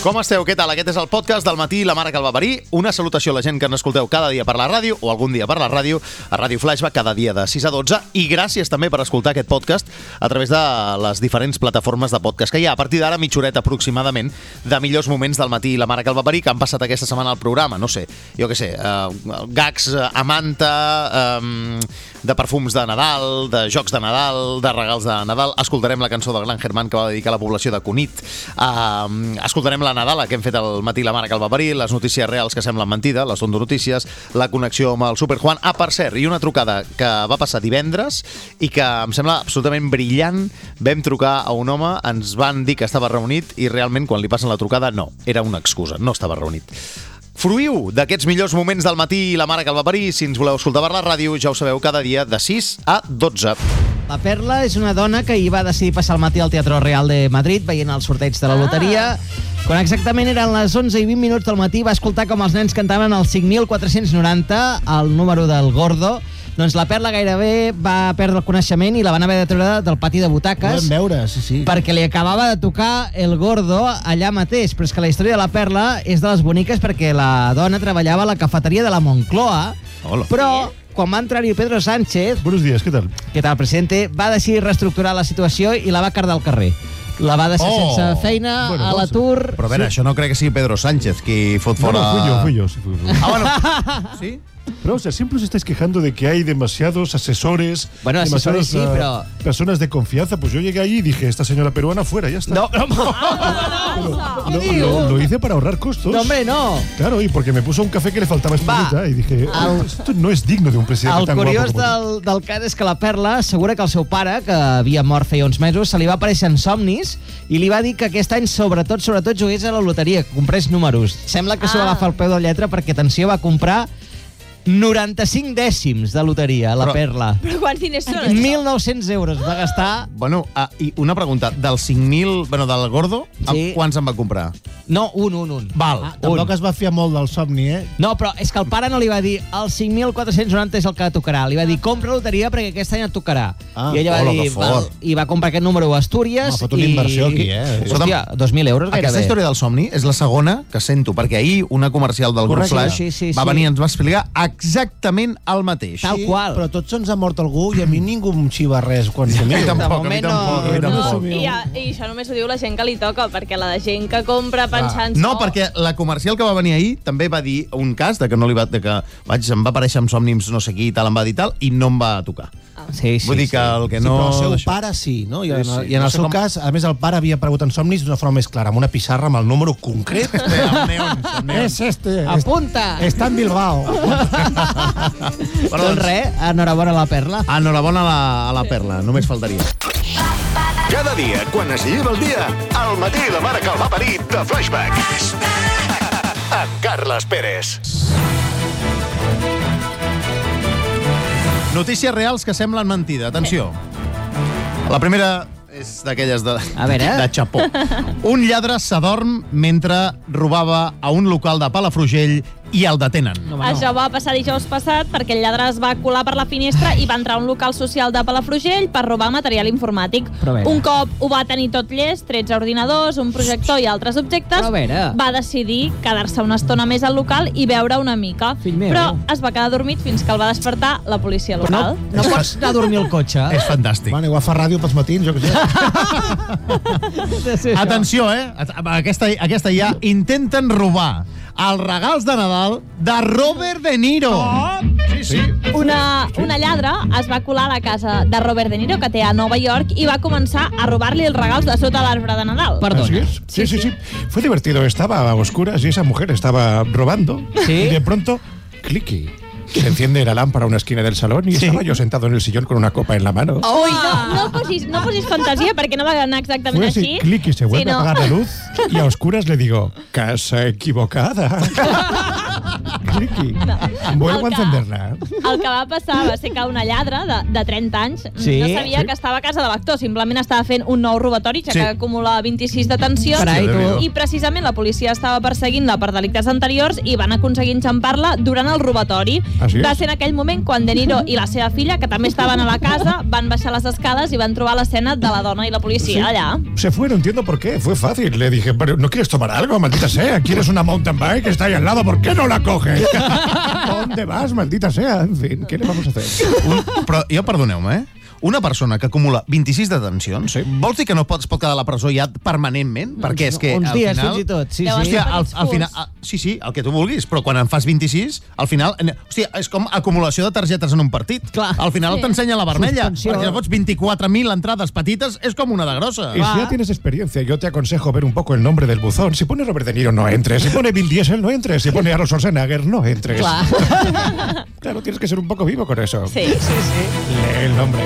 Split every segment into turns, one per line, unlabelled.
Com esteu? Què tal? Aquest és el podcast del matí i la mare que el va parir. Una salutació a la gent que ens escolteu cada dia per la ràdio o algun dia per la ràdio, a Ràdio Flashback cada dia de 6 a 12 i gràcies també per escoltar aquest podcast a través de les diferents plataformes de podcast que hi ha. A partir d'ara, mitja horeta aproximadament de millors moments del matí i la mare que el va parir que han passat aquesta setmana al programa. No sé, jo què sé, eh, gags eh, a manta, eh, de perfums de Nadal, de jocs de Nadal, de regals de Nadal. Escoltarem la cançó del Gran Germán que va dedicar a la població de Cunit. Uh, escoltarem la Nadala que hem fet al matí la mare que el va parir, les notícies reals que semblen mentida, les tondo notícies, la connexió amb el Super Juan. Ah, per cert, i una trucada que va passar divendres i que em sembla absolutament brillant. Vam trucar a un home, ens van dir que estava reunit i realment quan li passen la trucada, no, era una excusa, no estava reunit. Fruïu d'aquests millors moments del matí i la mare que el va parir. Si ens voleu escoltar per la ràdio, ja ho sabeu, cada dia de 6 a 12.
La Perla és una dona que hi va decidir passar el matí al Teatre Real de Madrid veient el sorteig de la loteria. Quan exactament eren les 11 i 20 minuts del matí va escoltar com els nens cantaven el 5.490, el número del Gordo. Doncs la Perla gairebé va perdre el coneixement i la van haver de treure del pati de butaques
Podem veure, sí, sí.
perquè li acabava de tocar el Gordo allà mateix. Però és que la història de la Perla és de les boniques perquè la dona treballava a la cafeteria de la Moncloa,
Hola.
però quan va entrar-hi Pedro Sánchez,
Buenos días, què tal?
que tal, presidente, va decidir reestructurar la situació i la va cardar al carrer. La va deixar
Oh!
oh. sense feina,
Bueno,
bueno, a
doncs-
l'atur...
Però a veure, sí. això no crec que sigui Pedro Sánchez qui fot
No,
fora...
no, fui yo, fui yo. sí, fui yo.
Ah, bueno. Sí?
Pero, o sea, siempre os estáis quejando de que hay demasiados asesores,
Bueno, asesores
demasiadas
sí,
ah, personas de confianza. Pues yo llegué allí y dije, esta señora peruana fuera, ya está.
No,
Pero
¿Qué
lo,
digo?
lo- lo hice para ahorrar costos.
no, hombre, no.
Claro, y porque me puso un café que le faltaba espumita y dije,
Al-
esto no es digno de un presidente
El
tan
curiós
guapo como tú".
del, del cas és que la Perla assegura que el seu pare, que havia mort feia uns mesos, se li va aparèixer en somnis i li va dir que aquest any, sobretot, sobretot, jugués a la loteria, que comprés números. Sembla que s'ho va
Ah.
agafar al peu de lletra perquè, atenció, va comprar 95 dècims de loteria, la
Però-
Perla.
Però quants diners són? això?
1.900 euros va gastar
Bueno, ah, i una pregunta. Del 5.000, bueno, del Gordo, sí.
Sí.
quants en va comprar?
No, un, un, un.
Val.
Ah, un.
Tampoc es va fiar molt del somni, eh?
No, però és que el pare no li va dir el 5.490 és el que tocarà. Li va dir, compra loteria perquè aquest any et tocarà.
Ah,
I ella va
hola,
dir,
que fort.
val. I va comprar aquest número a Astúries.
Home, fot una inversió aquí, eh?
Hòstia, 2.000 euros
Aquesta
gairebé.
història del somni és la segona que sento, perquè ahir una comercial del Grup
Correcte.
Flash
Sí, sí, sí,
va
sí.
venir i ens va explicar exactament el mateix.
Tal qual.
Però tots ens ha mort algú i a mi ningú em xiva res quan
A mi
somio.
tampoc, a mi
moment no-
tampoc, a mi
no
tampoc.
assumiu.
I, a, I això només ho diu la gent que li toca, perquè la gent que compra pensant...
No,
"Oh,
perquè la comercial que va venir ahir també va dir un cas de que no li va... De que, vaig, em va aparèixer amb somnims no sé qui i tal, em va dir tal, i no em va tocar.
Ah. Sí, sí,
Sí, Vull dir que el que
Sí,
no...
però el seu
d'això.
pare sí, no? I, en,
Sí, sí.
i en
No
el
sé
seu
com-
cas, a més, el pare havia aparegut en somnis d'una forma més clara, amb una pissarra amb el número concret.
Eh, amb neons, amb neons.
és este.
Apunta!
Està en Bilbao.
Bueno,
doncs
doncs-
res, enhorabona a la Perla.
Ah, Enhorabona a la, a la Perla, només faltaria.
Cada dia, quan es lleva el dia, al matí la mare que el va parir de Flashback. Amb Carles Pérez.
Notícies reals que semblen mentida, atenció. La primera és d'aquelles de,
A veure.
de xapó. Un lladre s'adorm mentre robava a un local de Palafrugell i el detenen.
No, home,
Això va passar dijous passat perquè el lladre es va colar per la finestra i va entrar a un local social de Palafrugell per robar material informàtic.
Però a veure.
Un cop ho va tenir tot llest, 13 ordinadors, un projector i altres objectes,
Però a veure.
va decidir quedar-se una estona més al local i veure una mica.
Fill meu.
Però es va quedar adormit fins que el va despertar la policia
Però no,
local.
no pots anar a dormir al cotxe.
És fantàstic.
bueno, igual fa ràdio pels matins, jo què sé.
Atenció, eh? Aquesta, aquesta ja. Intenten robar els regals de Nadal de Robert De Niro. Oh, sí, sí.
Una, una lladra es va colar a la casa de Robert De Niro, que té a Nova York, i va començar a robar-li els regals de sota l'arbre de Nadal.
Así
Perdona.
es. Sí, sí, sí. Fue divertido. Estaba a oscuras y esa mujer estaba robando.
Sí.
Y de pronto, cliqui. Se enciende la lámpara a una esquina del salón y estaba yo sentado en el sillón con una copa en la mano.
Ui, no, no, posis, no posis fantasia, perquè no va anar exactament
Fue
així.
así, clic y se vuelve
sinó-
a apagar la luz y a oscuras le digo, casa equivocada. Cliqui.
El
Vuelvo a
que-
encenderla.
El que va passar va ser que una lladra de, de 30 anys
Sí.
no sabia que estava a casa de l'actor, simplement estava fent un nou robatori, ja
Sí.
que acumulava 26 detencions.
Carai,
tu.
I precisament la policia estava perseguint-la per delictes anteriors i van aconseguir enxampar-la durant el robatori.
Així és.
Va ser en aquell moment quan De Niro i la seva filla, que també estaven a la casa, van baixar les escales i van trobar l'escena de la dona i la policia allà.
Se fue, no entiendo por qué. Fue fácil. Le dije, pero ¿no quieres tomar algo, maldita sea? ¿Quieres una mountain bike que está ahí al lado? ¿Por qué no la coges? ¿Dónde vas, maldita sea? En fin, ¿qué le vamos a hacer?
Un, però jo perdoneu-me, eh? Una persona que acumula 26 detencions, sí. vols dir que no pot, es pot quedar a la presó ja permanentment? Perquè és que
Doncs Uns
al
dies,
final...
fins i tot. Sí,
Llavors,
sí.
Hòstia, al, al
Petits
final,
furs.
a, sí, sí, el que tu vulguis, però quan en fas 26, al final... eh, Hòstia, és com acumulació de targetes en un partit.
Clar.
Al final
Sí.
sí. t'ensenya la vermella,
Suspensió.
perquè llavors 24.000 entrades petites és com una de grossa.
Y si ya tienes experiencia, yo te aconsejo ver un poco el nombre del buzón. Si pone Robert De Niro, no entres. Si pone Bill Diesel, no entres. Si pone Arnold Schwarzenegger, no entres.
Clar.
Claro, tienes que ser un poco vivo con eso.
Sí, sí, sí.
Lee el nombre.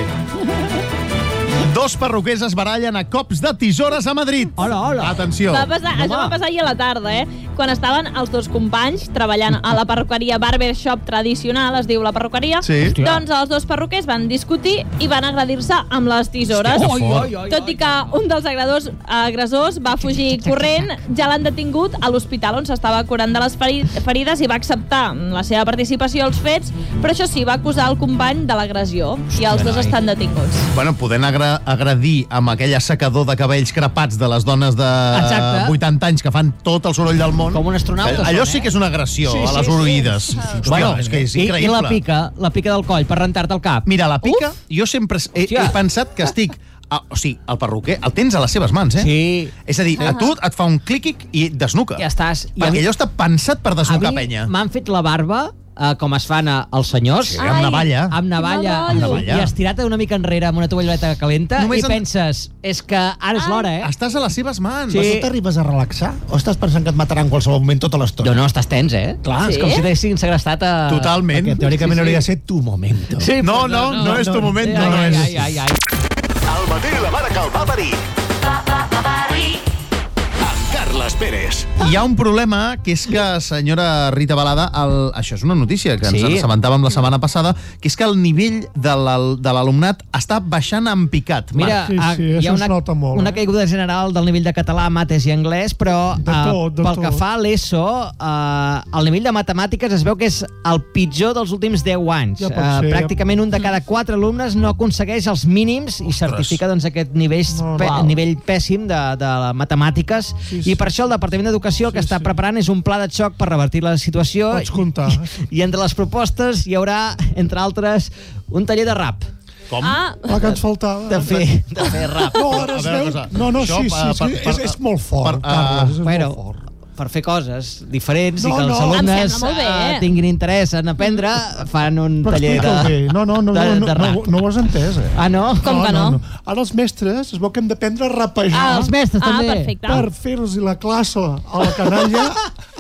Dos perruquers es barallen a cops de tisores a Madrid.
Hola, hola.
Atenció.
Va passar, això va passar ahir a la tarda, eh? Quan estaven els dos companys treballant a la perruqueria Barbershop tradicional, es diu la perruqueria,
Sí. Hòstia.
doncs els dos perruquers van discutir i van agredir-se amb les tisores.
Hòstia, que Oi, fort. oi, oi,
Tot i que un dels agredors, agressors va fugir corrent, ja l'han detingut a l'hospital on s'estava curant de les feri- ferides i va acceptar la seva participació als fets, però això sí, va acusar el company de l'agressió i els dos estan detinguts.
Bueno, podent agra agradir amb aquell assecador de cabells crepats de les dones de
Exacte.
80 anys que fan tot el soroll del món.
Com un astronauta
Allò
són,
sí
eh?
que és una agressió
Sí,
a
sí,
les
sí.
oruïdes. Sí, sí, Hòstia, és que és
I,
increïble.
I la pica, la pica del coll, per rentar-te el cap.
Mira, la pica, Uf. jo sempre he, he
Hòstia.
pensat que estic... A, o sigui, el perruquer el tens a les seves mans, eh?
Sí.
És a dir, a tu et fa un clíquic i et desnuca.
Ja estàs. I a
Perquè
mi-
allò està pensat per
A
desnucar
mi
penya.
m'han fet la barba, eh, com es fan eh, els senyors,
Sí, amb
Ai.
navalla.
amb navalla,
Amb
navalla.
i estirat una mica enrere amb una tovalloleta calenta
Només
i
en-
penses, és que ara és
Ai.
l'hora, eh?
Estàs a les seves mans.
Sí.
Però tu t'arribes a relaxar o estàs pensant que et mataran en qualsevol moment tota l'estona?
No, no, estàs tens, eh? Clar,
Sí?
és com si t'haguessin segrestat a...
Totalment.
Perquè teòricament sí,
Sí, sí.
sí. hauria de ser tu moment.
Sí,
No,
però
no, no, no és tu moment, no,
Ai,
no
ai,
és.
Ai, ai, ai.
Al matí la mare que el va parir. Amb Carles Pérez.
Hi ha un problema, que és que, senyora Rita Balada, el... això és una notícia que ens
Sí.
sí. assabentàvem la setmana passada, que és que el nivell de l'al- de l'alumnat està baixant en picat.
Mira,
Marc.
Sí,
ah,
sí,
hi ha
això es
una,
nota molt,
una
eh?
caiguda general del nivell de català, mates i anglès, però
De
ah,
tot, de
pel que
tot.
fa a l'ESO, eh, el nivell de matemàtiques es veu que és el pitjor dels últims 10 anys.
Ja pot
Eh,
ser, ja.
pràcticament un de cada 4 alumnes no aconsegueix els mínims i certifica doncs, aquest nivell,
No,
pe
val.
nivell pèssim de, de matemàtiques
Sí, sí.
i per això el Departament d'Educació el que
Sí,
està
sí.
preparant és un pla de xoc per revertir la situació
Pots comptar.
i entre les propostes hi haurà, entre altres, un taller de rap.
Com?
Ah,
La que ens faltava.
De fer, de fer rap.
No, ara es
A veure,
veu...
cosa.
No, no,
Això,
sí, sí,
per-
és, que
per-
és, és molt fort,
per- ah,
Carles, és
bueno,
molt fort.
per fer coses diferents no, i
No,
que els
no.
Em
alumnes
sembla molt bé.
eh, tinguin interès en aprendre, fan un
Però
taller de,
explica-ho bé. No, no, no,
de,
no,
de
no,
rap.
no, no ho has entès, eh?
Ah, no?
Com que no?
Ara els mestres es veu que hem d'aprendre a rapejar
Ah, els mestres
ah,
també.
perfecte.
per fer-los la classe a la canalla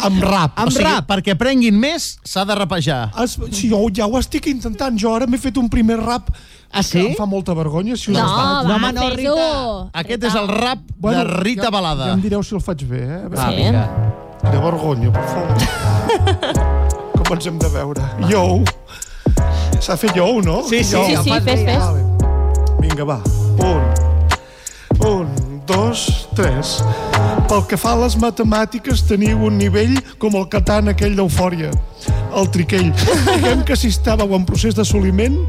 amb rap.
Amb
o sigui,
rap.
ah, perquè aprenguin més, s'ha de rapejar.
Es, si jo ja ho estic intentant, jo ara m'he fet un primer rap
Ah, sí?
que em fa molta vergonya. Si us
No,
fa.
va,
No, home, no,
fes-ho.
Rita.
Aquest és el rap de Rita
ja,
Balada.
Ja em direu si el faig bé, eh?
Ah,
Sí.
vinga.
De vergonya, per favor. Comencem de veure. Yo. S'ha fet yo, no?
Sí, sí,
Yo.
Sí, sí, fes, fes.
Vale. Vinga, va. Un, un, dos, tres. Pel que fa a les matemàtiques, teniu un nivell com el catant aquell d'eufòria, el triquell. Diguem que si estàveu en procés d'assoliment,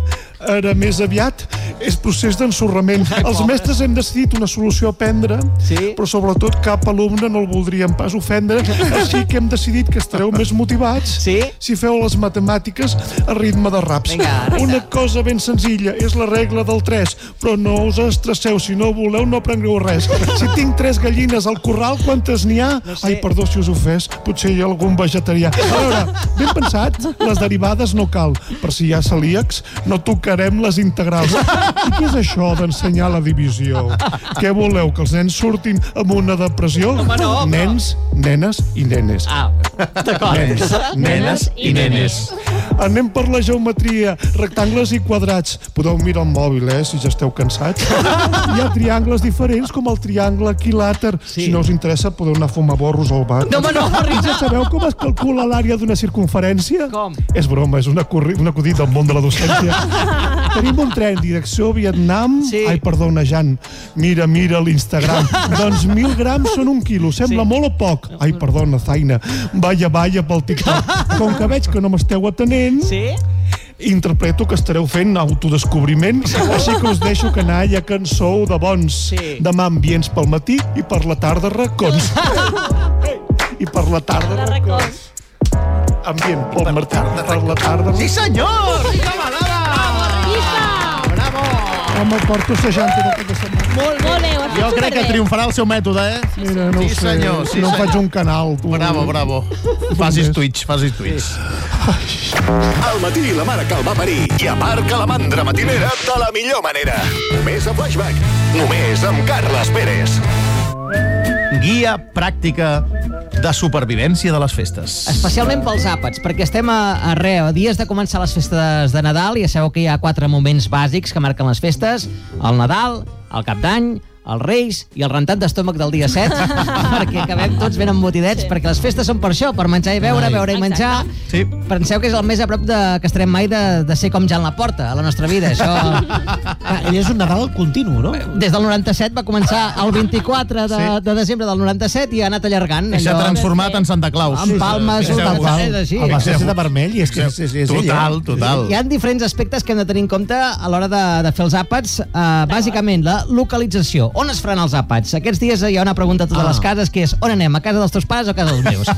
ara més aviat és procés d'ensorrament. Els mestres hem decidit una solució a prendre,
Sí.
però sobretot cap alumne no el voldríem pas ofendre, així que hem decidit que estareu més motivats
Sí?
si feu les matemàtiques a ritme de raps.
Vinga, Rita.
Una cosa ben senzilla, és la regla del 3, però no us estresseu, si no voleu no aprengueu res. Si tinc tres gallines al corral, quantes n'hi ha? No
sé.
Ai, perdó si us ofès, potser hi ha algun vegetarià. A veure, ben pensat, les derivades no cal, per si hi ha celíacs no tocarem les integrals. I què és això d'ensenyar la divisió? Què voleu, que els nens surtin amb una depressió?
Home, no, però-
Nens, nenes i nenes.
Ah, d'acord.
Nens, nenes i nenes. Anem per la geometria, rectangles i quadrats. Podeu mirar el mòbil, eh, si ja esteu cansats. Hi ha triangles diferents, com el triangle equilàter. Sí. Si no us interessa, podeu anar a fumar borros al bar.
No, home, no,
I ja sabeu com es calcula l'àrea d'una circunferència?
Com?
És broma, és una curri- un acudit del món de la docència. Tenim un tren direcció Vietnam...
Sí.
Ai, perdona, Jan. Mira, mira l'Instagram. doncs mil grams són un quilo. Sembla sí. molt o poc? Ai, perdona, Zaina. Vaya, vaya pel TikTok. Com que veig que no m'esteu atenent, sí.
Sí?
interpreto que estareu fent autodescobriment, així que us deixo que anar, ja que en sou de bons.
Sí.
Demà ambients pel matí i per la tarda racons. I per la tarda
De
racons.
racons.
Ambient pel matí, per la tarda
Sí, senyor! Sí,
Pista!
Home, porto 60 d'aquesta setmana.
Molt, molt bé, ho has fet
Jo crec que
superbé.
triomfarà el seu mètode, eh?
Mira, no
Sí,
ho sé,
senyor, sí,
no
senyor.
faig un canal. Tu.
Mm.
Bravo, bravo. Facis tuits, facis tuits.
Al matí la mare que el va parir i a Marc Calamandra matinera de la millor manera. Més a Flashback, només amb Carles Pérez.
Guia pràctica de supervivència de les festes.
Especialment pels àpats, perquè estem a, a re, a dies de començar les festes de Nadal i ja sabeu que hi ha quatre moments bàsics que marquen les festes. El Nadal, el Cap d'Any, els Reis i el rentat d'estómac del dia 7, perquè acabem tots ben embotidets, sí. perquè les festes són per això, per menjar i beure,
Ai.
beure i menjar.
Sí.
Penseu que és el més a prop de, que estarem mai de, de ser com Jan Laporta a la nostra vida. Això,
Ah, ell és un Nadal continu, no?
des del 97 va començar el 24 de,
Sí.
sí. de desembre del 97 i ha anat allargant.
I S'ha
allò.
transformat en Santa Claus.
doncs. Amb palmes,
Fixeu-vos.
un tal- és així.
El va ser de vermell i és que és, és, és ell, eh?
Total, total.
Hi ha diferents aspectes que hem de tenir en compte a l'hora de, de fer els àpats. Uh, bàsicament, la localització. On es faran els àpats? Aquests dies hi ha una pregunta a totes ah. les cases, que és on anem, a casa dels teus pares o a casa dels meus?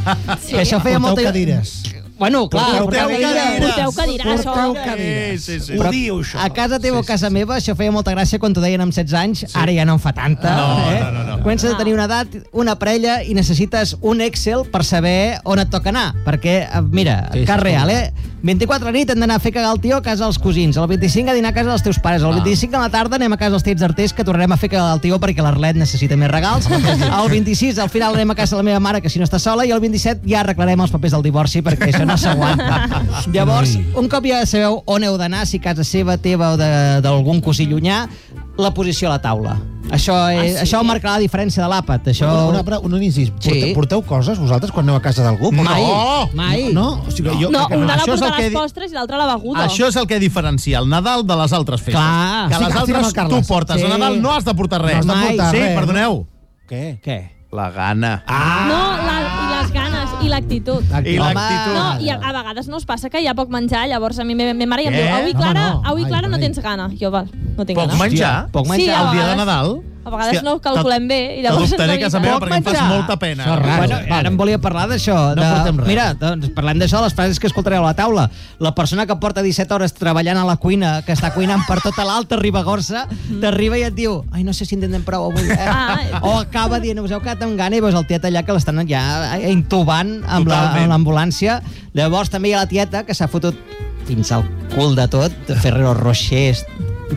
sí. Que això feia
Porteu
molta...
cadires.
Bueno, clar,
Porteu
porteu
cadires.
cadires.
Porteu cadires,
Porteu
home.
cadires.
Sí, sí, sí.
Ho diu, això.
A casa teva o a casa meva, això feia molta gràcia quan t'ho deien amb 16 anys, sí. ara ja no en fa tanta.
No,
eh?
no, no, no.
Comences a tenir una edat, una parella, i necessites un Excel per saber on et toca anar. Perquè, eh, mira,
Sí,
sí,
sí,
cas
sí.
real, eh? 24 a la nit hem d'anar a fer cagar el tio a casa dels cosins, el 25 a dinar a casa dels teus pares, el
Ah.
25 a la tarda anem a casa dels tiets arters que tornarem a fer cagar el tio perquè l'Arlet necessita més regals, el 26 al final anem a casa de la meva mare que si no està sola i el 27 ja arreglarem els papers del divorci perquè això no s'aguanta. Llavors, un cop ja sabeu on heu d'anar, si casa seva, teva o de- d'algun cosí llunyà, la posició a la taula. Això, és, ah, sí? això marcarà la diferència de l'àpat. Això...
Una, una, un incís. Porteu,
Sí.
porteu coses vosaltres quan aneu a casa d'algú?
Mai.
No,
Mai.
No, o sigui, jo,
No, una la
Això és el
porta
que
les
di-
postres i l'altra la beguda.
Això és el que diferencia el Nadal de les altres festes.
Clar.
Que a
Estic-
les
estic amb el
altres tu
Carles.
portes. A
Sí.
Nadal no has de portar res.
No
has de portar
sí,
res, no?
perdoneu.
Què?
Què?
La gana.
No, la, i les ganes, i l'actitud.
I
Home,
l'actitud.
No, i a, a vegades no us passa que hi ha poc menjar, llavors a mi me- me mare ja em
Què?
diu avui
No,
Clara,
no,
avui
mai,
Clara no
mai.
tens gana. Jo, val, no tinc
Poc
gana.
menjar.
Poc
Sí,
menjar.
a
El dia de
vegades-
Nadal.
a vegades
Hòstia,
no ho calculem bé i llavors ens
T'adoptaré a casa
avisen.
meva
Poc
perquè em fas
menjar.
molta pena.
Això és raro.
Bueno,
Vale.
ara em volia parlar d'això.
No portem
de...
res.
Mira, doncs parlem d'això, les frases que escoltareu a la taula. La persona que porta 17 hores treballant a la cuina, que està cuinant per tota l'alta Ribagorça, t'arriba i et diu ai, no sé si en tindrem prou avui. Eh?
Mm-hmm. Ah.
O acaba dient, us heu quedat amb gana i veus el tiet allà que l'estan ja eh, intubant amb la-
Totalment.
amb l'ambulància. Llavors també hi ha la tieta que s'ha fotut fins al cul de tot, de Ferrero Rochers,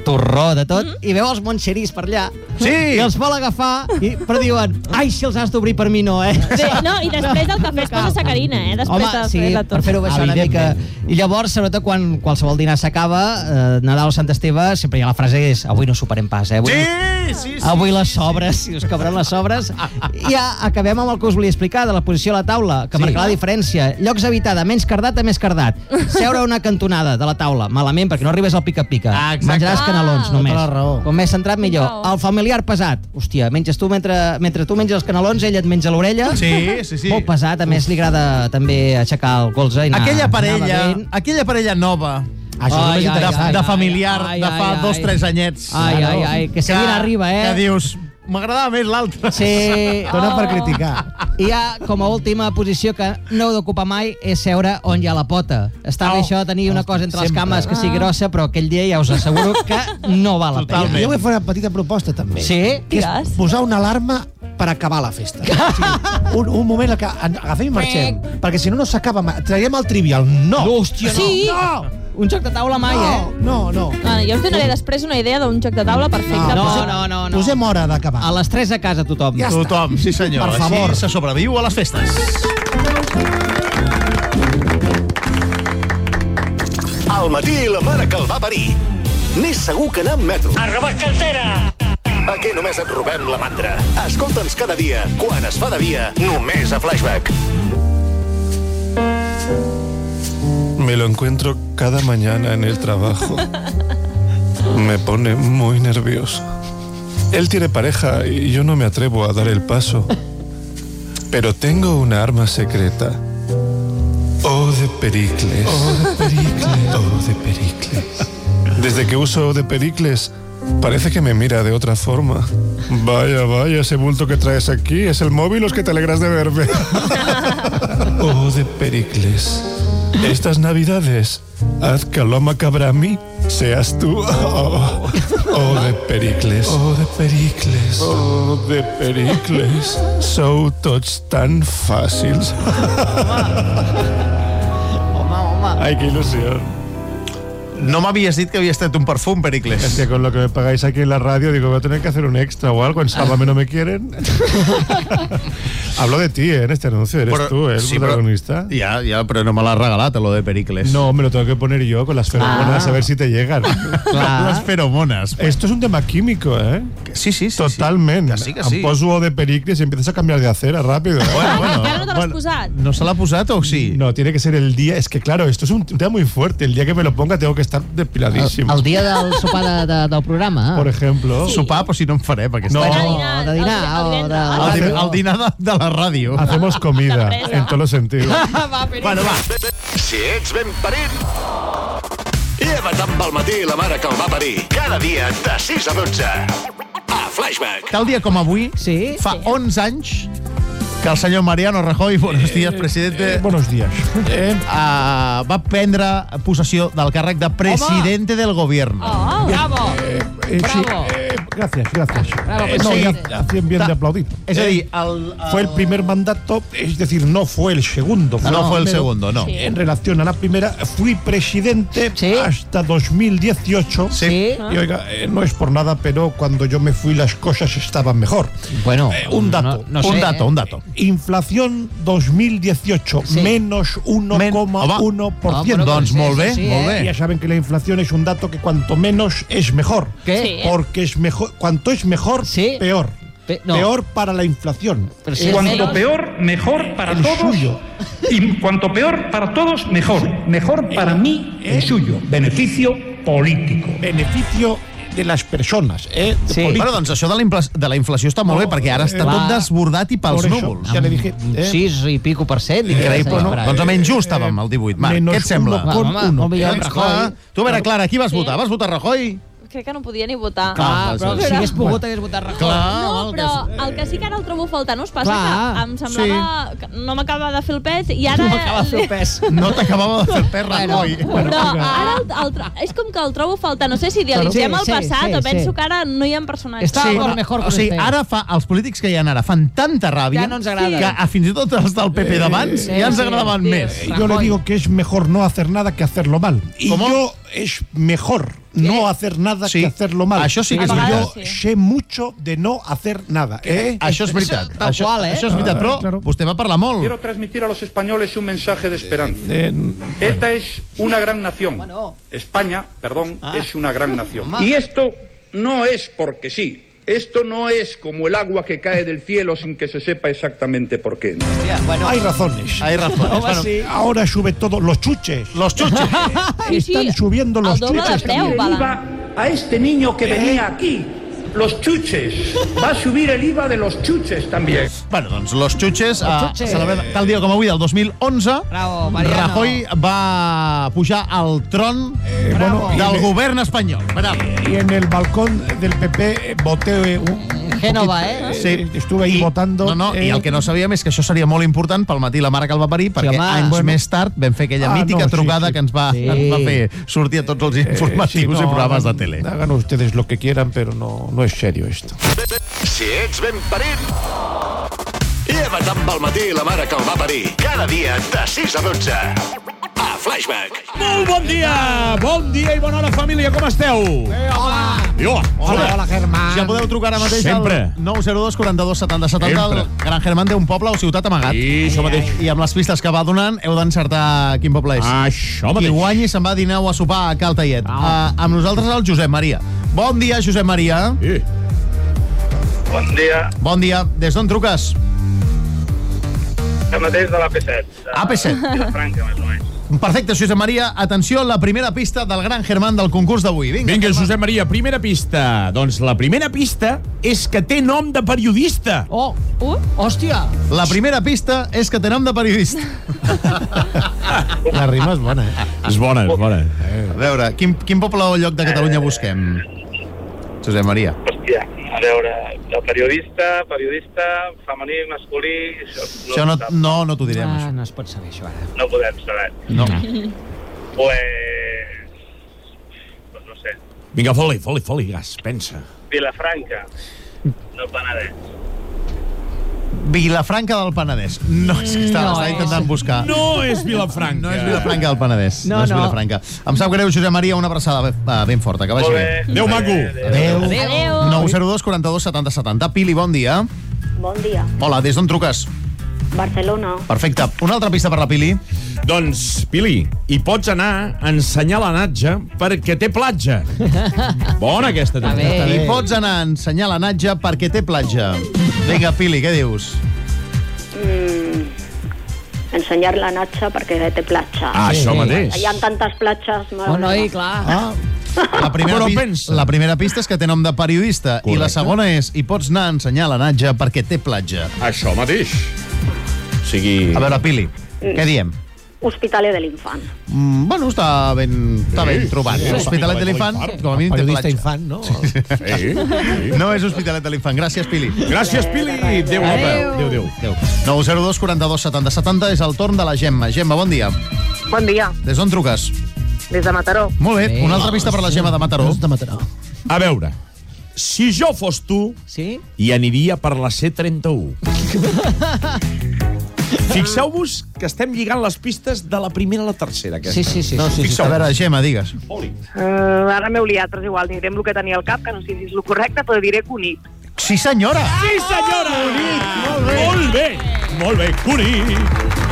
torró de
Mhm.
tot, mm -hmm. i veu els monxerís per allà,
Sí.
i els vol agafar, i, però diuen, ai, si els has d'obrir per mi no, eh?
Bé, no, i després del cafè es posa sacarina, eh? Després
Home,
de
sí,
fer-la tot.
per fer-ho baixar una mica. I llavors, sobretot quan qualsevol dinar s'acaba, eh, Nadal o Sant Esteve, sempre hi ha la frase que és avui no superem pas, eh? Avui,
Sí, sí, sí.
avui les sobres, si us cabran les sobres. I ja acabem amb el que us volia explicar de la posició a la taula, que sí. marcarà la diferència. Llocs habitada, menys cardat a més cardat. Seure a una cantonada de la taula, malament, perquè no arribes al pica-pica.
Ah, exacte.
Menjaràs canelons,
Ah.
només.
Tota la raó.
Com més centrat, millor.
raó.
El familiar pesat. Hòstia, menges tu mentre, mentre tu menges els canelons, ell et menja l'orella.
Sí, sí, sí.
Molt pesat, a més li agrada també aixecar el colze i anar,
Aquella
anar
parella,
bevent.
aquella parella nova,
Això és el més
de,
interessant.
de familiar, de fa dos, tres anyets.
Ai, ai, ai, que se mira arriba, eh?
Que dius, m'agradava més l'altre.
Sí.
Dóna per
Oh.
criticar.
I hi ha, com a última posició que no heu d'ocupar mai, és seure on hi ha la pota. Està bé
Au.
això de tenir una cosa entre les
Sempre.
cames que
Ah.
sigui grossa, però aquell dia ja us asseguro que no val la pena.
Totalment.
Jo vull fer una petita proposta, també.
Oh. Sí?
Que és
Digues.
posar una alarma per acabar la festa. O sigui, un, un moment en què en- agafem i marxem, perquè si no, no s'acaba mai. Traiem el trivial. No!
No, hòstia, no.
Sí.
No!
Un joc de taula mai,
No,
eh?
no, no.
Bueno, jo us donaré després una idea d'un joc de taula perfecte. Ah,
No,
per-
no, no, no.
Posem hora d'acabar.
A les 3 a casa tothom.
Ja està.
Tothom, sí senyor.
Per favor.
Així se sobreviu a les festes.
Al matí i la mare que el va parir. Més segur que anar amb metro. A robar cartera! Aquí només et robem la mandra. Escolta'ns cada dia, quan es fa de dia, només a Flashback.
Me lo encuentro cada mañana en el trabajo. Me pone muy nervioso. Él tiene pareja y yo no me atrevo a dar el paso. Pero tengo una arma secreta. O de Pericles. O de Pericles. O de Pericles. Desde que uso O de Pericles, parece que me mira de otra forma. Vaya, vaya, ese bulto que traes aquí es el móvil los que te alegras de verme. O de Pericles. Estas navidades, haz que l'home que habrá a mi seas tú. Oh, oh, de Pericles. Oh, de Pericles. Oh, de Pericles. Sou tots tan fàcils.
Home, home.
Ai, que il·lusió.
No m'havies dit que havia estat un perfum, Pericles.
Es que con lo que me pagáis aquí en la radio, digo, voy a tener que hacer un extra o algo. En Sálvame no me quieren. Hablo de ti, ¿eh? En este anuncio eres tú, ¿eh? el protagonista.
Però, ja, ja, però no me l'has regalat, lo de Pericles.
No, me lo tengo que poner yo con
Ah.
las feromonas a ver si te llegan.
Les feromones.
Esto es un tema químico, ¿eh?
Ah. Sí, sí, sí.
Totalmente.
Que sí, que sí.
Em poso O de Pericles y empiezas a cambiar de acera rápido. ¿eh?
Bueno,
Ah, encara no te l'has posat.
¿No se l'ha posat o sí?
No, tiene que ser el día. Es que claro, esto es un tema muy fuerte. El día que me lo ponga tengo que estar depiladísimo.
El dia del sopar de, de, del programa.
Por ejemplo.
Sopar, però si no en farem, aquesta.
No.
Bueno,
de dinar,
el- el
o
divendres.
de-
Oh. El, din el dinar de, de la ràdio.
Hacemos comida
Sorpresa.
en todos los sentidos.
Va, Pere.
Bueno, va.
Si ets ben parit, lleva't amb el matí i la mare que el va parir. Cada dia de 6 a 12. A Flashback.
Tal dia com avui,
Sí?
fa 11 anys que el senyor Mariano Rajoy, buenos días, presidente,
Eh, Buenos días.
eh, va prendre possessió del càrrec de presidente del govern.
Oh, bravo.
Eh, sí,
Bravo.
eh, gracias, gracias.
Bravo,
pues
Eh, no,
presidente.
ya hacían bien de aplaudir.
És a
Eh,
dir, el, el... Ah,
fue el primer mandato, es decir, no fue el segundo.
No,
el
fue el
primero.
segundo, no.
Sí.
En relación a la primera, fui presidente
Sí. Ah.
hasta 2018.
Sí?
Y oiga, eh, no es por nada, pero cuando yo me fui las cosas estaban mejor.
Bueno,
Eh, un dato,
no, no
un
sé, eh.
dato, un dato.
Inflación 2018,
Sí.
menos
Men-
Ah,
1,1%.
bueno,
doncs
sí,
molt
sí,
bé,
sí, eh?
molt bé.
Ya saben que la inflación es un dato que cuanto menos es mejor.
Què?
Sí.
Porque es mejor, cuanto es mejor,
Sí.
peor.
Pe- no.
Peor para la inflación.
Però si és
Cuanto
menys-
peor, mejor para
El
todos.
suyo.
Y cuanto peor para todos, mejor. Mejor para mí,
Eh,
el suyo. Beneficio político.
Beneficio de las personas, ¿eh? De
Sí.
política.
Bueno, doncs això de la, infla de la inflació està molt
No,
bé, perquè ara està
eh,
tot
va.
desbordat i pels
Por eso,
núvols.
ya le dije. ¿eh?
Sis i pico per cent.
Increïble,
Sí,
no?
però-
Doncs almenys just estàvem, el 18. Marc,
menos
què et sembla?
Va, home,
uno.
molt millor amb
Clar.
Rajoy.
Tu, a veure, Clara, qui vas votar? Vas votar Rajoy?
Crec que no podia ni votar.
Ah,
Clar, però si hagués pogut hagués votat Rajoy.
Clar,
No, però el que sí que ara el trobo faltant, no us passa
Clar.
que em semblava que no m'acaba de fer el pes i ara...
No m'acaba de fer el pes.
No t'acabava de fer el pes, Rajoy.
Bueno, no, ara el, el, tro- és com que el trobo faltant. No sé si idealitzem
Sí,
el
sí,
passat
sí,
o penso
sí.
que ara no hi ha personatges.
Està- Bueno, mejor
o sigui,
que
ara fa, els polítics que hi ha ara fan tanta ràbia
Ja no ens agraden.
que a, fins i tot els del PP d'abans
sí,
ja ens
sí,
agradaven
sí.
més.
Yo le
Rajoy.
digo que es mejor no hacer nada que hacerlo mal. Y
¿Cómo?
yo es mejor no hacer nada
Sí.
que hacerlo mal.
Ah, yo sí que
Y
es
verdad.
Yo sé mucho de no hacer nada. ¿eh?
Això és veritat.
tal
Això,
qual, eh?
això és veritat, però vostè va parlar molt.
Quiero transmitir a los españoles un mensaje
Eh,
de esperanza. ETA es una gran nación. España, perdón,
Ah.
es una gran nación. Y esto no es porque sí. Esto no es como el agua que cae del cielo sin que se sepa exactamente por qué.
Hay razones.
Ai, Rajoy. Ah, Bueno,
Ahora sube todo. Los chuches.
los chuches.
Sí, sí,
Están subiendo los
el doble de
chuches
preu,
también.
va.
El IVA a este niño que venía aquí. Los chuches. Va a subir el IVA de los chuches también.
Bueno, doncs Los Chuches, a,
Chuches.
celebra, tal dia com avui, del 2011,
Bravo, Mariano.
Rajoy va pujar al tron eh,
Bravo.
bueno, del govern espanyol. Bravo.
Y en el balcón del PP eh, voté eh, un- un
Génova,
poquito,
eh?
Estuve ahí
I-
votando.
No, no, i
eh,
el que no sabíem és que això seria molt important pel matí la mare que el va parir, perquè
home.
anys
Bueno.
més tard vam fer aquella
Ah,
mítica
no, sí,
trucada
sí.
que ens va,
Sí.
ens va fer sortir a tots els
eh,
informatius
sí, no,
i programes de
hagan-
tele.
Hagan ustedes lo que quieran, pero no, no es serio esto.
Si ets ben parit, lleva't amb el matí i la mare que el va parir. Cada dia de 6 a 12. A Flashback.
Molt bon dia! Bon dia i bona hora, família. Com esteu? Eh, hola! I hola!
hola, Germán.
Ja podeu trucar ara mateix
Sempre.
al 902 42 70 70
Sempre.
el Gran Germán té un poble o ciutat amagat.
I això mateix.
I amb les pistes que va donant heu d'encertar quin poble és.
Això mateix.
Qui guanyi se'n va a dinar o a sopar a Cal Taiet. Ah. Uh, amb nosaltres el Josep Maria. Bon dia, Josep Maria.
Sí.
Bon dia,
Bon dia. Des d'on truques?
el mateix de l'AP7.
AP7.
Franca, més o menys.
Perfecte, Josep Maria. Atenció, la primera pista del Gran Germán del concurs d'avui. Vinga.
Vinga, Josep Maria, primera pista. Doncs la primera pista és que té nom de periodista.
Oh,
Uh,
hòstia.
La primera pista és que té nom de periodista.
La rima és bona, eh?
És bona, és bona.
A veure, quin, quin poble o lloc de Catalunya busquem? Josep Maria.
Hòstia, a veure, el periodista, periodista, femení, masculí... Això no,
Això no,
sap,
no, no t'ho direm.
Ah,
això.
no es pot saber això ara.
no podem saber.
No.
Pues... pues no sé,
Vinga, foli, foli, foli, gas, pensa.
Vilafranca, no Penedès.
Vilafranca del Penedès. No, és que està,
No
està
és.
intentant buscar.
No és Vilafranca.
No és Vilafranca del Penedès. No,
No,
no, és
no.
Vilafranca. Em sap greu, Josep Maria, una abraçada ben- eh, ben forta. Que vagi
Molt
bé.
bé.
Adéu, maco.
Adéu.
Adéu.
902 42 70 70. Pili, bon dia.
Bon dia.
Hola, des d'on truques?
Barcelona.
Perfecte. Una altra pista per la Pili.
Doncs, Pili, hi pots anar a ensenyar la natja perquè té platja. Bona aquesta,
Està
també.
bé.
I pots anar a ensenyar la Natja perquè té platja. Vinga, Pili, què dius?
Mm, ensenyar la natxa perquè té platja.
Ah, això
Sí.
mateix.
Hi ha tantes platges. mare
Oh, noi,
meva.
clar.
Ah, la primera,
Però
pi-
pensa.
la primera pista és que té nom de periodista Correcte. i la
Correcte.
segona és i pots anar a ensenyar la Natja perquè té platja.
Això mateix. O sigui...
A veure, Pili, què diem?
Hospitalet de l'infant.
Mm, bueno, està ben, està ben trobat. Sí, Hospitalet de l'Infant, com a mínim té
Periodista
platja.
infant, no? Sí.
Sí, sí.
No és Hospitalet de l'Infant. Gràcies, Pili.
Gràcies, Pili. Adéu, apa. Adéu, adéu.
902 42 70 70 és el torn de la Gemma. Gemma, bon dia.
Bon dia,
Des d'on truques?
des de Mataró.
Molt bé, una altra pista per la Gemma de Mataró.
De Mataró.
A veure, si jo fos tu,
Sí?
hi aniria per la C31. Fixeu-vos que estem lligant les pistes de la primera a la tercera. Aquesta.
Sí, sí, sí.
No, sí, sí, a veure, Gemma, digues.
Oli.
Uh, ara m'he oliat, però és igual, diré amb el que tenia al cap, que no sé si és el correcte, però diré conic.
Sí, senyora!
Sí, senyora! Ah, Molt bé! Molt bé, Conic!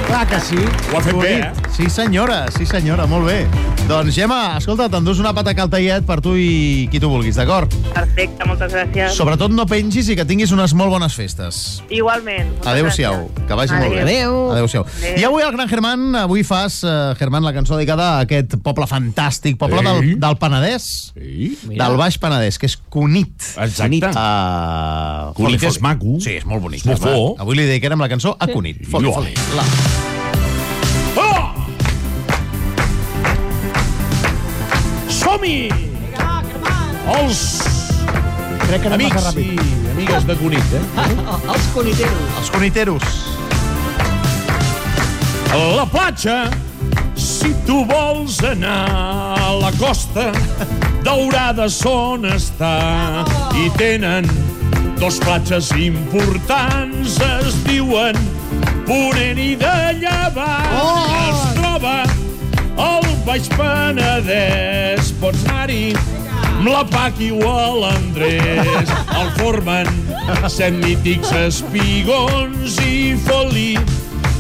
Clar que sí.
Ho ha fet bé, eh?
Sí, senyora, sí, senyora, molt bé. Doncs, Gemma, escolta, t'endús una pata caltaiet per tu i qui tu vulguis, d'acord?
Perfecte, moltes gràcies.
Sobretot no pengis i que tinguis unes molt bones festes.
Igualment. moltes
Adéu-siau,
gràcies.
que vagi molt bé.
Adéu.
Adéu-siau.
Adéu.
I avui al Gran Germán, avui fas, eh, Germán, la cançó dedicada a aquest poble fantàstic, poble del,
Sí.
del Penedès,
Sí.
del Baix Penedès, que és Cunit.
Exacte.
Uh,
Cunit és maco.
Sí, és molt bonic.
És bufó.
Avui li dedicarem la cançó a Cunit. Foli,
Iuà.
foli.
Oh! Som-hi! Els
Crec que anem massa
amics
ràpid.
i amigues de Cunit, eh?
Els coniteros.
Els Cuniteros.
A la platja, si tu vols anar a la costa, daurades on està. I tenen dos platges importants, es diuen Ponent i de Llevant. Oh! Es troba al Baix Penedès, pots anar-hi amb la Paqui o a l'Andrés. El formen set mítics espigons i foli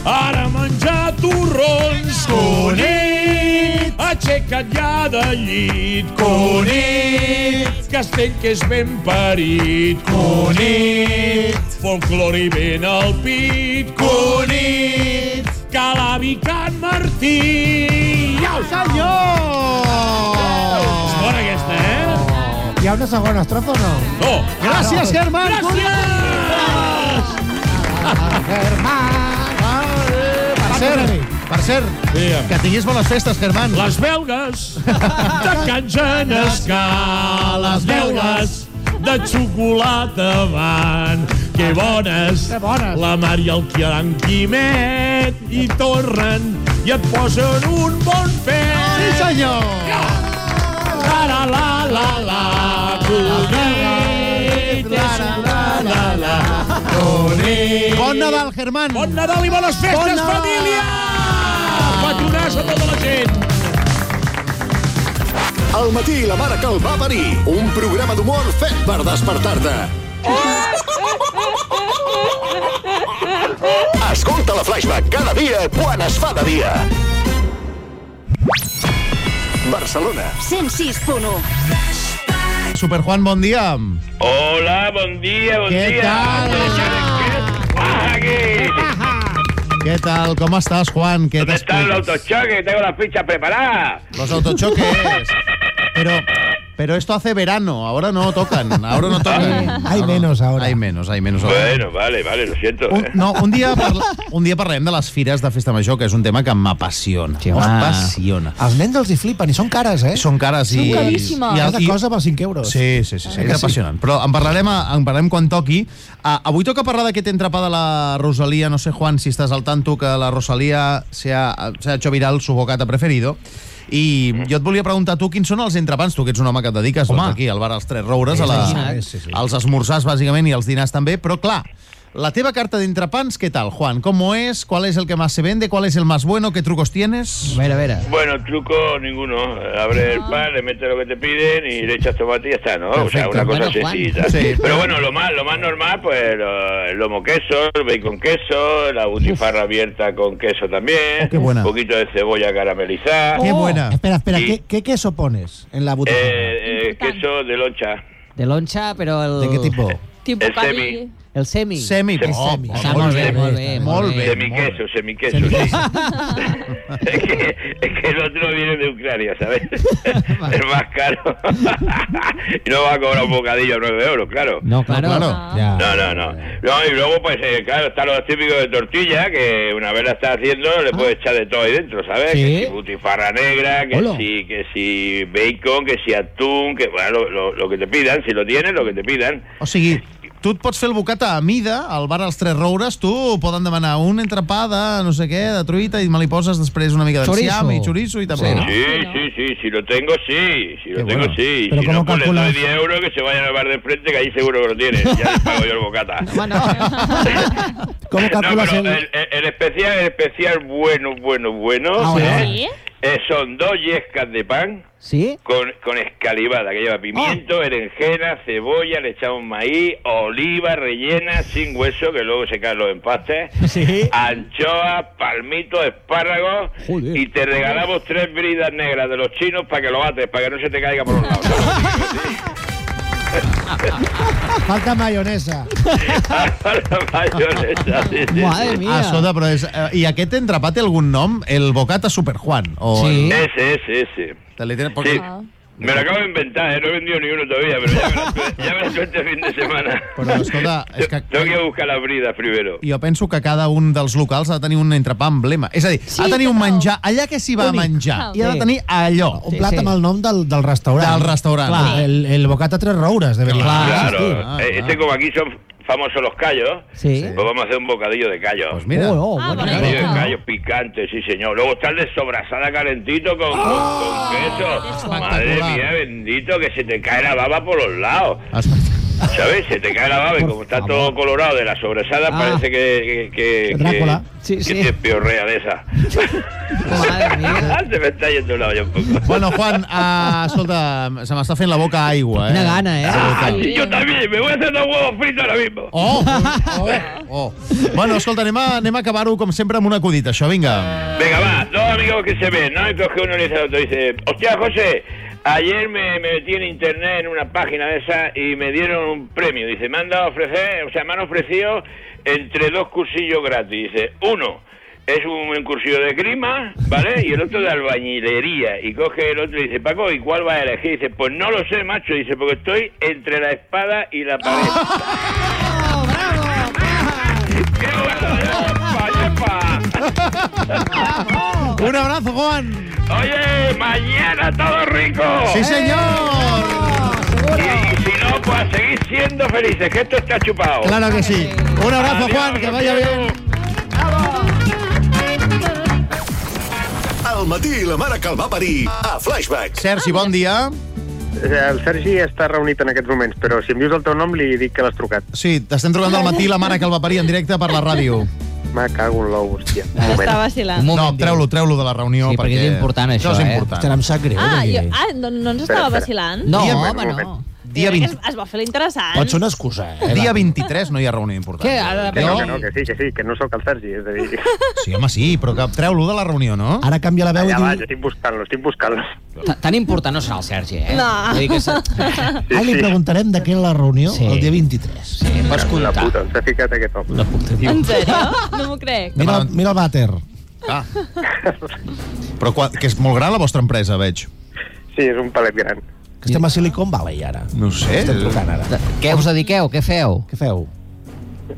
Ara menjar torrons, Cunit, aixeca't ja de llit, Cunit, castell que és ben parit, Cunit, folclore i ben al pit, Cunit, calavi Can Martí. Iau, senyor! És bona aquesta, eh? Oh,
Hi ha una segona estrofa o no?
No.
Gràcies, Germán.
Gràcies!
Ah,
Per cert, per cert,
Digue'm.
que tinguis bones festes, Germán.
Les belgues de Can Genescà, les belgues de xocolata van. Que bones,
Que bones.
la Mar i el Quiran Quimet i tornen i et posen un bon pet.
Sí, senyor.
La la la la la, bonic, és la la la, bonic.
Bon Nadal, Germán.
Bon Nadal i bones festes,
Bon Nadal.
família! Bon fet un as a tota la gent.
Al matí la mare que el va parir. Un programa d'humor fet per despertar-te. Escolta la Flashback cada dia quan es fa de dia. Barcelona.
106.1
Super Juan, bon dia.
Hola, bon dia, bon
Què
dia.
tal?
¿Qué
Què tal? Com estàs, Juan? Què
¿Dónde está el
t'expliques?
autochoque? Tengo la ficha preparada.
Los autochoques. Pero, pero esto hace verano, ahora no tocan, ahora no tocan. Hay menos ahora. Hay menos, hay menos ahora.
Bueno, vale, vale, lo siento.
Un,
eh.
no, un dia, parla, un dia parlarem de les fires de Festa Major, que és un tema que m'apassiona. Sí, m'apassiona.
Els nens els hi flipen i són cares, eh?
Són cares i... i-
Cada
i-
cosa per 5 euros.
Sí, sí, sí,
Eh
sí, és
que sí?
apassionant. Però en parlarem, a- en parlarem quan toqui. Uh, avui toca parlar d'aquest entrepà de la Rosalía. No sé, Juan, si estàs al tanto que la Rosalía se ha, se ha hecho viral su bocata preferido. I
Mm.
jo et volia preguntar, tu, quins són els entrepans? Tu, que ets un home que et dediques doncs, aquí, al bar als Tres Roures, a la,
Sí, sí, sí.
als esmorzars, bàsicament, i als dinars també. Però, clar, la teva carta d'entrepans, què tal, Juan? Com és? ¿Cuál es el que más se vende? ¿Cuál es el más bueno? ¿Qué trucos tienes?
A ver, a ver.
Bueno, truco ninguno. Abre el pan, le metes lo que te piden y le echas tomate y ya está, ¿no? o sea,
Perfecto.
una cosa
Bueno, Juan.
sencilla.
Sí.
Pero bueno, lo más, lo más normal, pues lo- el lomo queso, el bacon queso, la butifarra abierta con queso también,
Oh, qué buena.
un poquito de cebolla
Oh,
caramelizada.
Qué buena. Oh, Espera, espera,
Y,
¿qué, qué queso pones en la
eh,
butaca?
eh, queso de loncha.
De lonxa, però el...
De què tipus?
Tipo
El
pavi.
semi.
El semi.
Semi,
El
oh,
semi.
oh,
Està
molt
molt bé,
bé,
molt bé. molt bé.
Semiqueso, semiqueso, sí. es, que, es que el otro viene de Ucrania, ¿sabes? es más caro. y no va a cobrar un bocadillo a 9 euros, claro.
No, claro.
No, no, no. No, y luego, pues, eh, claro, están los típicos de tortilla, que una vez la estás haciendo, le puedes echar de todo ahí dentro, ¿sabes?
Ah. Sí.
Que si butifarra negra, que
Hola.
si, que si bacon, que si atún, que bueno, lo, lo- lo que te pidan, si lo tienes, lo que te pidan.
O sigui, tu et pots fer el bocata a mida, al bar als Tres Roures, tu poden demanar un entrepà de no sé què, de truita, i me li poses després una mica
Chorizo.
d'enciam i xoriço i també.
Sí,
Ah,
sí, sí, si lo tengo, sí, si lo tengo, sí.
Pero
si
¿cómo
no, pues le
calculas?
doy 10 euros que se vayan al bar de frente, que ahí seguro que lo tienes. Ya les pago yo el bocata.
¿Cómo calculas
No, pero
el...?
el, el- el especial, el especial bueno, bueno, bueno,
Ah, bueno.
¿eh? Eh, son dos yescas de pan
¿Sí?
con, con escalivada, que lleva
Ah.
pimiento, berenjena, cebolla, le echamos maíz, oliva rellena, sin hueso, que luego se caen los empastes, anchoas, palmitos, espárragos, y te regalamos tres bridas negras de los chinos para que lo bates, para que no se te caiga por un lado.
Falta mayonesa.
La mayonesa, sí, sí, sí.
Ah, escolta, però és, eh, I aquest entrepà té algun nom? El bocata Super Juan? O el...
Ese, ese, ese. Sí.
Ah.
Me lo acabo de inventar, ¿eh? no he vendido ni uno todavía, pero ya me lo suelto- ya me lo suelto este fin de semana.
Però, escolta, és que
Tengo que buscar las bridas primero.
jo penso que cada un dels locals ha de tenir un entrepà emblema. És a dir, sí, ha de tenir un menjar allà que s'hi va
Únic.
menjar.
Ah,
I ha
sí.
de tenir allò.
Un plat amb el nom del, del restaurant.
Del restaurant.
Clar,
Sí.
el, el bocata tres roures, deberia. Ah,
claro. Eh, este como aquí son famosos los callos,
Sí.
pues vamos a hacer un bocadillo de callos. Pues
mira.
Oh,
Ah,
oh,
Un bocadillo de callos picante, sí señor. Luego está el de sobrasada calentito con, con-
¡Ah!
con queso. Madre mía, bendito, que se te cae la baba por los lados. ¿Sabes? Se te cae la baba y como está todo colorado de la sobresada,
Ah.
parece que, que, que, que,
Sí,
que
sí.
te piorrea de esa. Se me está yendo la olla un poco.
Bueno, Juan, uh, escolta, se m'està fent la boca aigua, eh?
Quina gana, eh?
Ah, y yo también, me voy a hacer dos huevos fritos ahora mismo.
Oh, oh, oh. Bueno, escolta, anem a, anem a acabar-ho, com sempre, amb un acudit, això, vinga.
Venga, va, dos amigos que se ven, ¿no? Entonces que uno le dice al otro, dice, hostia, José, ayer me, me metí en internet en una página de esa y me dieron un premio. Dice, me han dado a ofrecer, o sea, me han ofrecido entre dos cursillos gratis. Dice, uno es un, un cursillo de grima, ¿vale? Y el otro de albañilería. Y coge el otro y dice, Paco, ¿y cuál vas a elegir? Dice, pues no lo sé, macho. Dice, porque estoy entre la espada y la pared. ¿eh?
Un abrazo, Juan.
Oye, mañana todo rico.
Sí, señor.
Y, si no, pues a seguir siendo felices, que esto está chupado.
Claro que sí. Un abrazo, Juan, que vaya bien.
Al matí la mare que el va parir a Flashback.
Sergi, bon dia.
Eh, El Sergi està reunit en aquests moments, però si em dius el teu nom li dic que l'has trucat.
Sí, t'estem trucant al matí la mare que el va parir en directe per la ràdio.
Me cago en l'ou, hòstia. Un moment.
Està vacilant.
No, treu-lo, treu-lo de la reunió.
Sí, perquè és important, això,
és
eh?
important.
Ostres, em sap greu,
Ah, jo, ah no, no ens
Espera,
estava
espera.
vacilant?
eh, No, Dia- home, no. Dia
Jo crec que
20.
Es, es va fer l'interessant.
una excusa, eh? Dia 23 no hi ha reunió important.
Què, ara-
Que no,
No.
que no, que sí, que sí, que no sóc el Sergi, és a dir...
Sí, home, sí, però que treu-lo de la reunió, no?
Ara canvia la
Allà va, jo estic buscant-lo, estic buscant-lo.
Tan important no serà el Sergi, eh?
No.
Vull dir que se-
Ara li preguntarem de què és la reunió sí. el dia 23. Sí,
Eh,
pots comptar. La puta, on s'ha ficat aquest home?
La puta,
En sèrio? No m'ho crec.
Mira, mira el vàter.
Ah. Però qua, que és molt gran la vostra empresa, veig.
Sí, és un palet gran.
Que estem a Silicon Valley, ara.
No ho sé.
Estem trucant, ara.
Què us dediqueu? Què feu?
Què feu?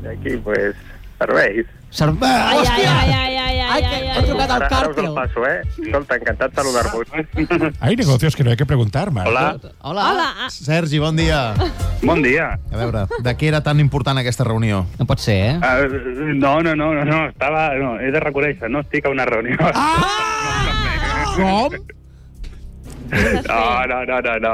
Aquí, pues, serveis.
Serveis!
Ai, ai, ai, ai, ai, ai, ai, ai.
Ara, ara us el passo, eh? Escolta, encantat de saludar-vos.
Hay negocios que no hay que preguntar, Marc.
Hola.
Hola.
Hola.
Sergi, bon dia.
Bon dia.
A veure, de què era tan important aquesta reunió?
No pot ser, eh?
Ah,
No, no, no, no, no, estava... No, he de reconèixer, no estic a una reunió.
Com?
No, no, no, no, no.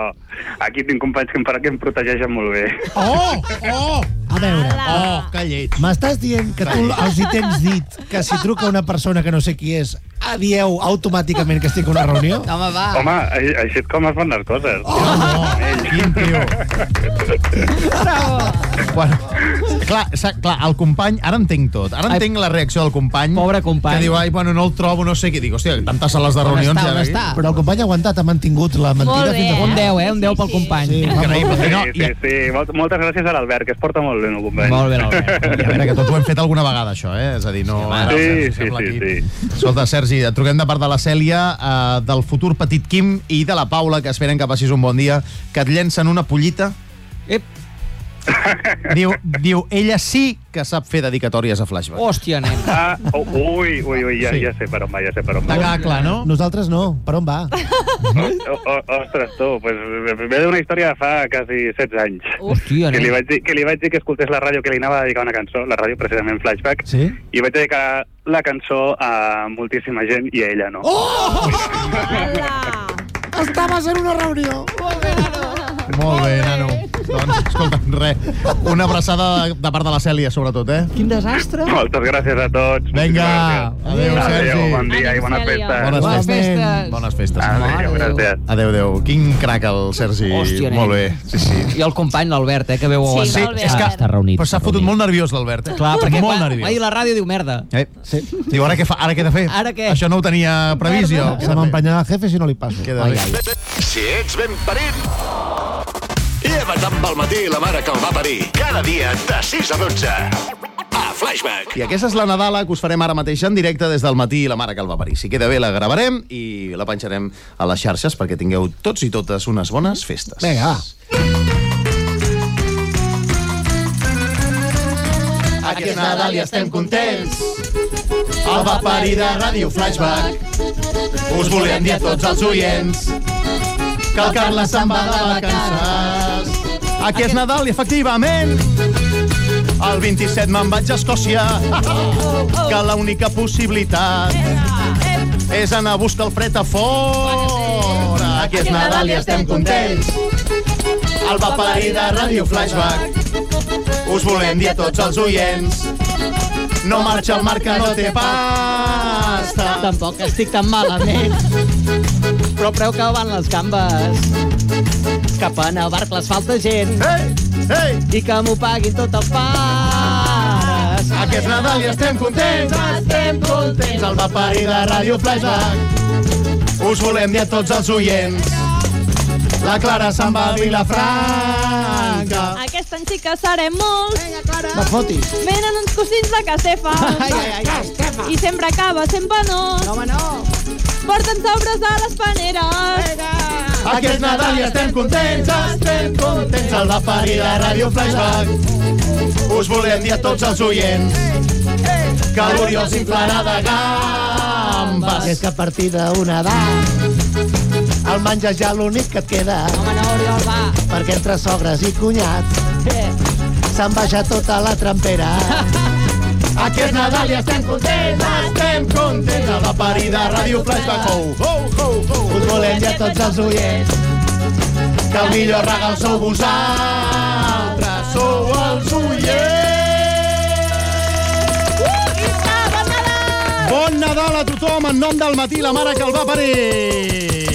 Aquí tinc companys que em, que em protegeixen molt bé.
Oh! Oh! A veure.
Oh, que lleig.
M'estàs dient que tu els hi tens dit que si truca una persona que no sé qui és, ah, dieu automàticament que estic a una reunió?
Ah. Home, va.
Home, ai- així és com es fan les coses.
Quin tio. Bueno, clar, sa- clar, el company, ara entenc tot. Ara
Ai,
entenc la reacció del company.
Pobre company.
Que diu, ai, bueno, no el trobo, no sé què. Dic, hòstia, tantes sales de
On
reunions...
està,
ja
on
aquí.
està?
Però el company ha aguantat, ha mantingut la mentida fins a...
Un 10, eh? Un 10 pel company. Sí,
Increïble.
Sí,
No, i,
sí, sí. Molt- Moltes gràcies a l'Albert, que es porta molt bé, no, company?
Molt bé, l'Albert.
I a veure, que tots ho hem fet alguna vegada, això, eh? És a dir, no... ara
Sí,
el Sergi
sí,
sembla
sí,
aquí.
sí.
Escolta, Sergi, et truquem de part de la Cèlia, eh, del futur petit Quim i de la Paula, que esperen que passis un bon dia, que et llencen una pollita.
Ep.
Diu, diu, ella sí que sap fer dedicatòries a flashback.
Hòstia, nen.
Ah, oh, ui, ui, ui, ja,
Sí.
ja sé per on va, ja sé per on va.
T'ha quedat clar, no?
Nosaltres no. Per on va?
O- o- Oh, Ostres, tu, pues, ve d'una història de fa quasi 16 anys.
Hòstia,
que li,
nen.
vaig dir, que li vaig dir que escoltés la ràdio que li anava a dedicar una cançó, la ràdio precisament Flashback,
sí?
i vaig dedicar la cançó a moltíssima gent i a ella no. Oh!
Estaves en una reunió.
Molt bé, nano. Doncs, escolta, res. Una abraçada de, de part de la Cèlia, sobretot, eh?
Quin desastre.
Moltes gràcies a tots.
Vinga, adéu, Sergi.
Bon dia i bona festa.
Bones
Bones
festes.
festes.
Bones festes.
Adéu, gràcies.
Adéu, adéu. Quin crac el Sergi.
Hòstia, nen.
Molt bé. Sí, sí.
I el company, l'Albert, eh, que veu
Sí,
aguantar.
l'Albert.
Està-
És que-
Està reunit.
Però s'ha fotut molt nerviós, l'Albert. Eh?
Clar, perquè
molt
quan,
nerviós.
ahir la ràdio diu merda.
Eh? Sí. Diu, ara què, fa, ara què he de fer?
Ara què?
Això no ho tenia previsió.
Se m'empenyarà el jefe si no li passo.
Queda
Ai,
bé.
ai.
Si ets ben parit, lleva't amb el matí la mare que el va parir. Cada dia de 6 a 12. A Flashback.
I aquesta és la Nadala que us farem ara mateix en directe des del matí i la mare que el va parir. Si queda bé, la gravarem i la penjarem a les xarxes perquè tingueu tots i totes unes bones festes.
Vinga, va.
Aquest Nadal i estem contents. El va parir de Ràdio Flashback. Us volem dir a tots els oients que el Carles se'n va de vacances. Aquest Nadal i efectivament el 27 me'n vaig a Escòcia que l'única possibilitat és anar a buscar el fred a fora. Aquest Nadal i estem contents. El va parir de Ràdio Flashback. Us volem dir a tots els oients no marxa el Marc que no té pasta.
Tampoc estic tan malament. Però preu que van les gambes. Cap a Navarcles falta gent.
Ei, ei,
I que m'ho paguin tot els pares.
aquest Nadal i estem contents, estem contents. El va parir de Ràdio Flashback. Us volem dir a tots els oients. La Clara se'n va a Vilafranca.
Aquest any sí que serem molts.
No et fotis.
Venen uns cosins de Casefa.
Ai, ai, ai.
I sempre acaba sent penós. No, home, no. Porten sobres a les paneres.
Aquest Nadal i estem contents, estem contents. El va parir de Ràdio Flashback. Us volem dir a tots els oients que l'Oriol s'inflarà de
I
gambes.
és que a partir d'una edat el menjar ja l'únic que et queda
Home, no, Oriol, va.
perquè entre sogres i cunyats se'n baixa tota la trampera.
Aquest Nadal ja estem contents, estem contents a la parida Ràdio Flashback. Ho, ho, ho, ho. Us volem ja tots els oients, que el millor regal sou vosaltres, sou els oients. a tothom en nom del matí, la mare que el va parir.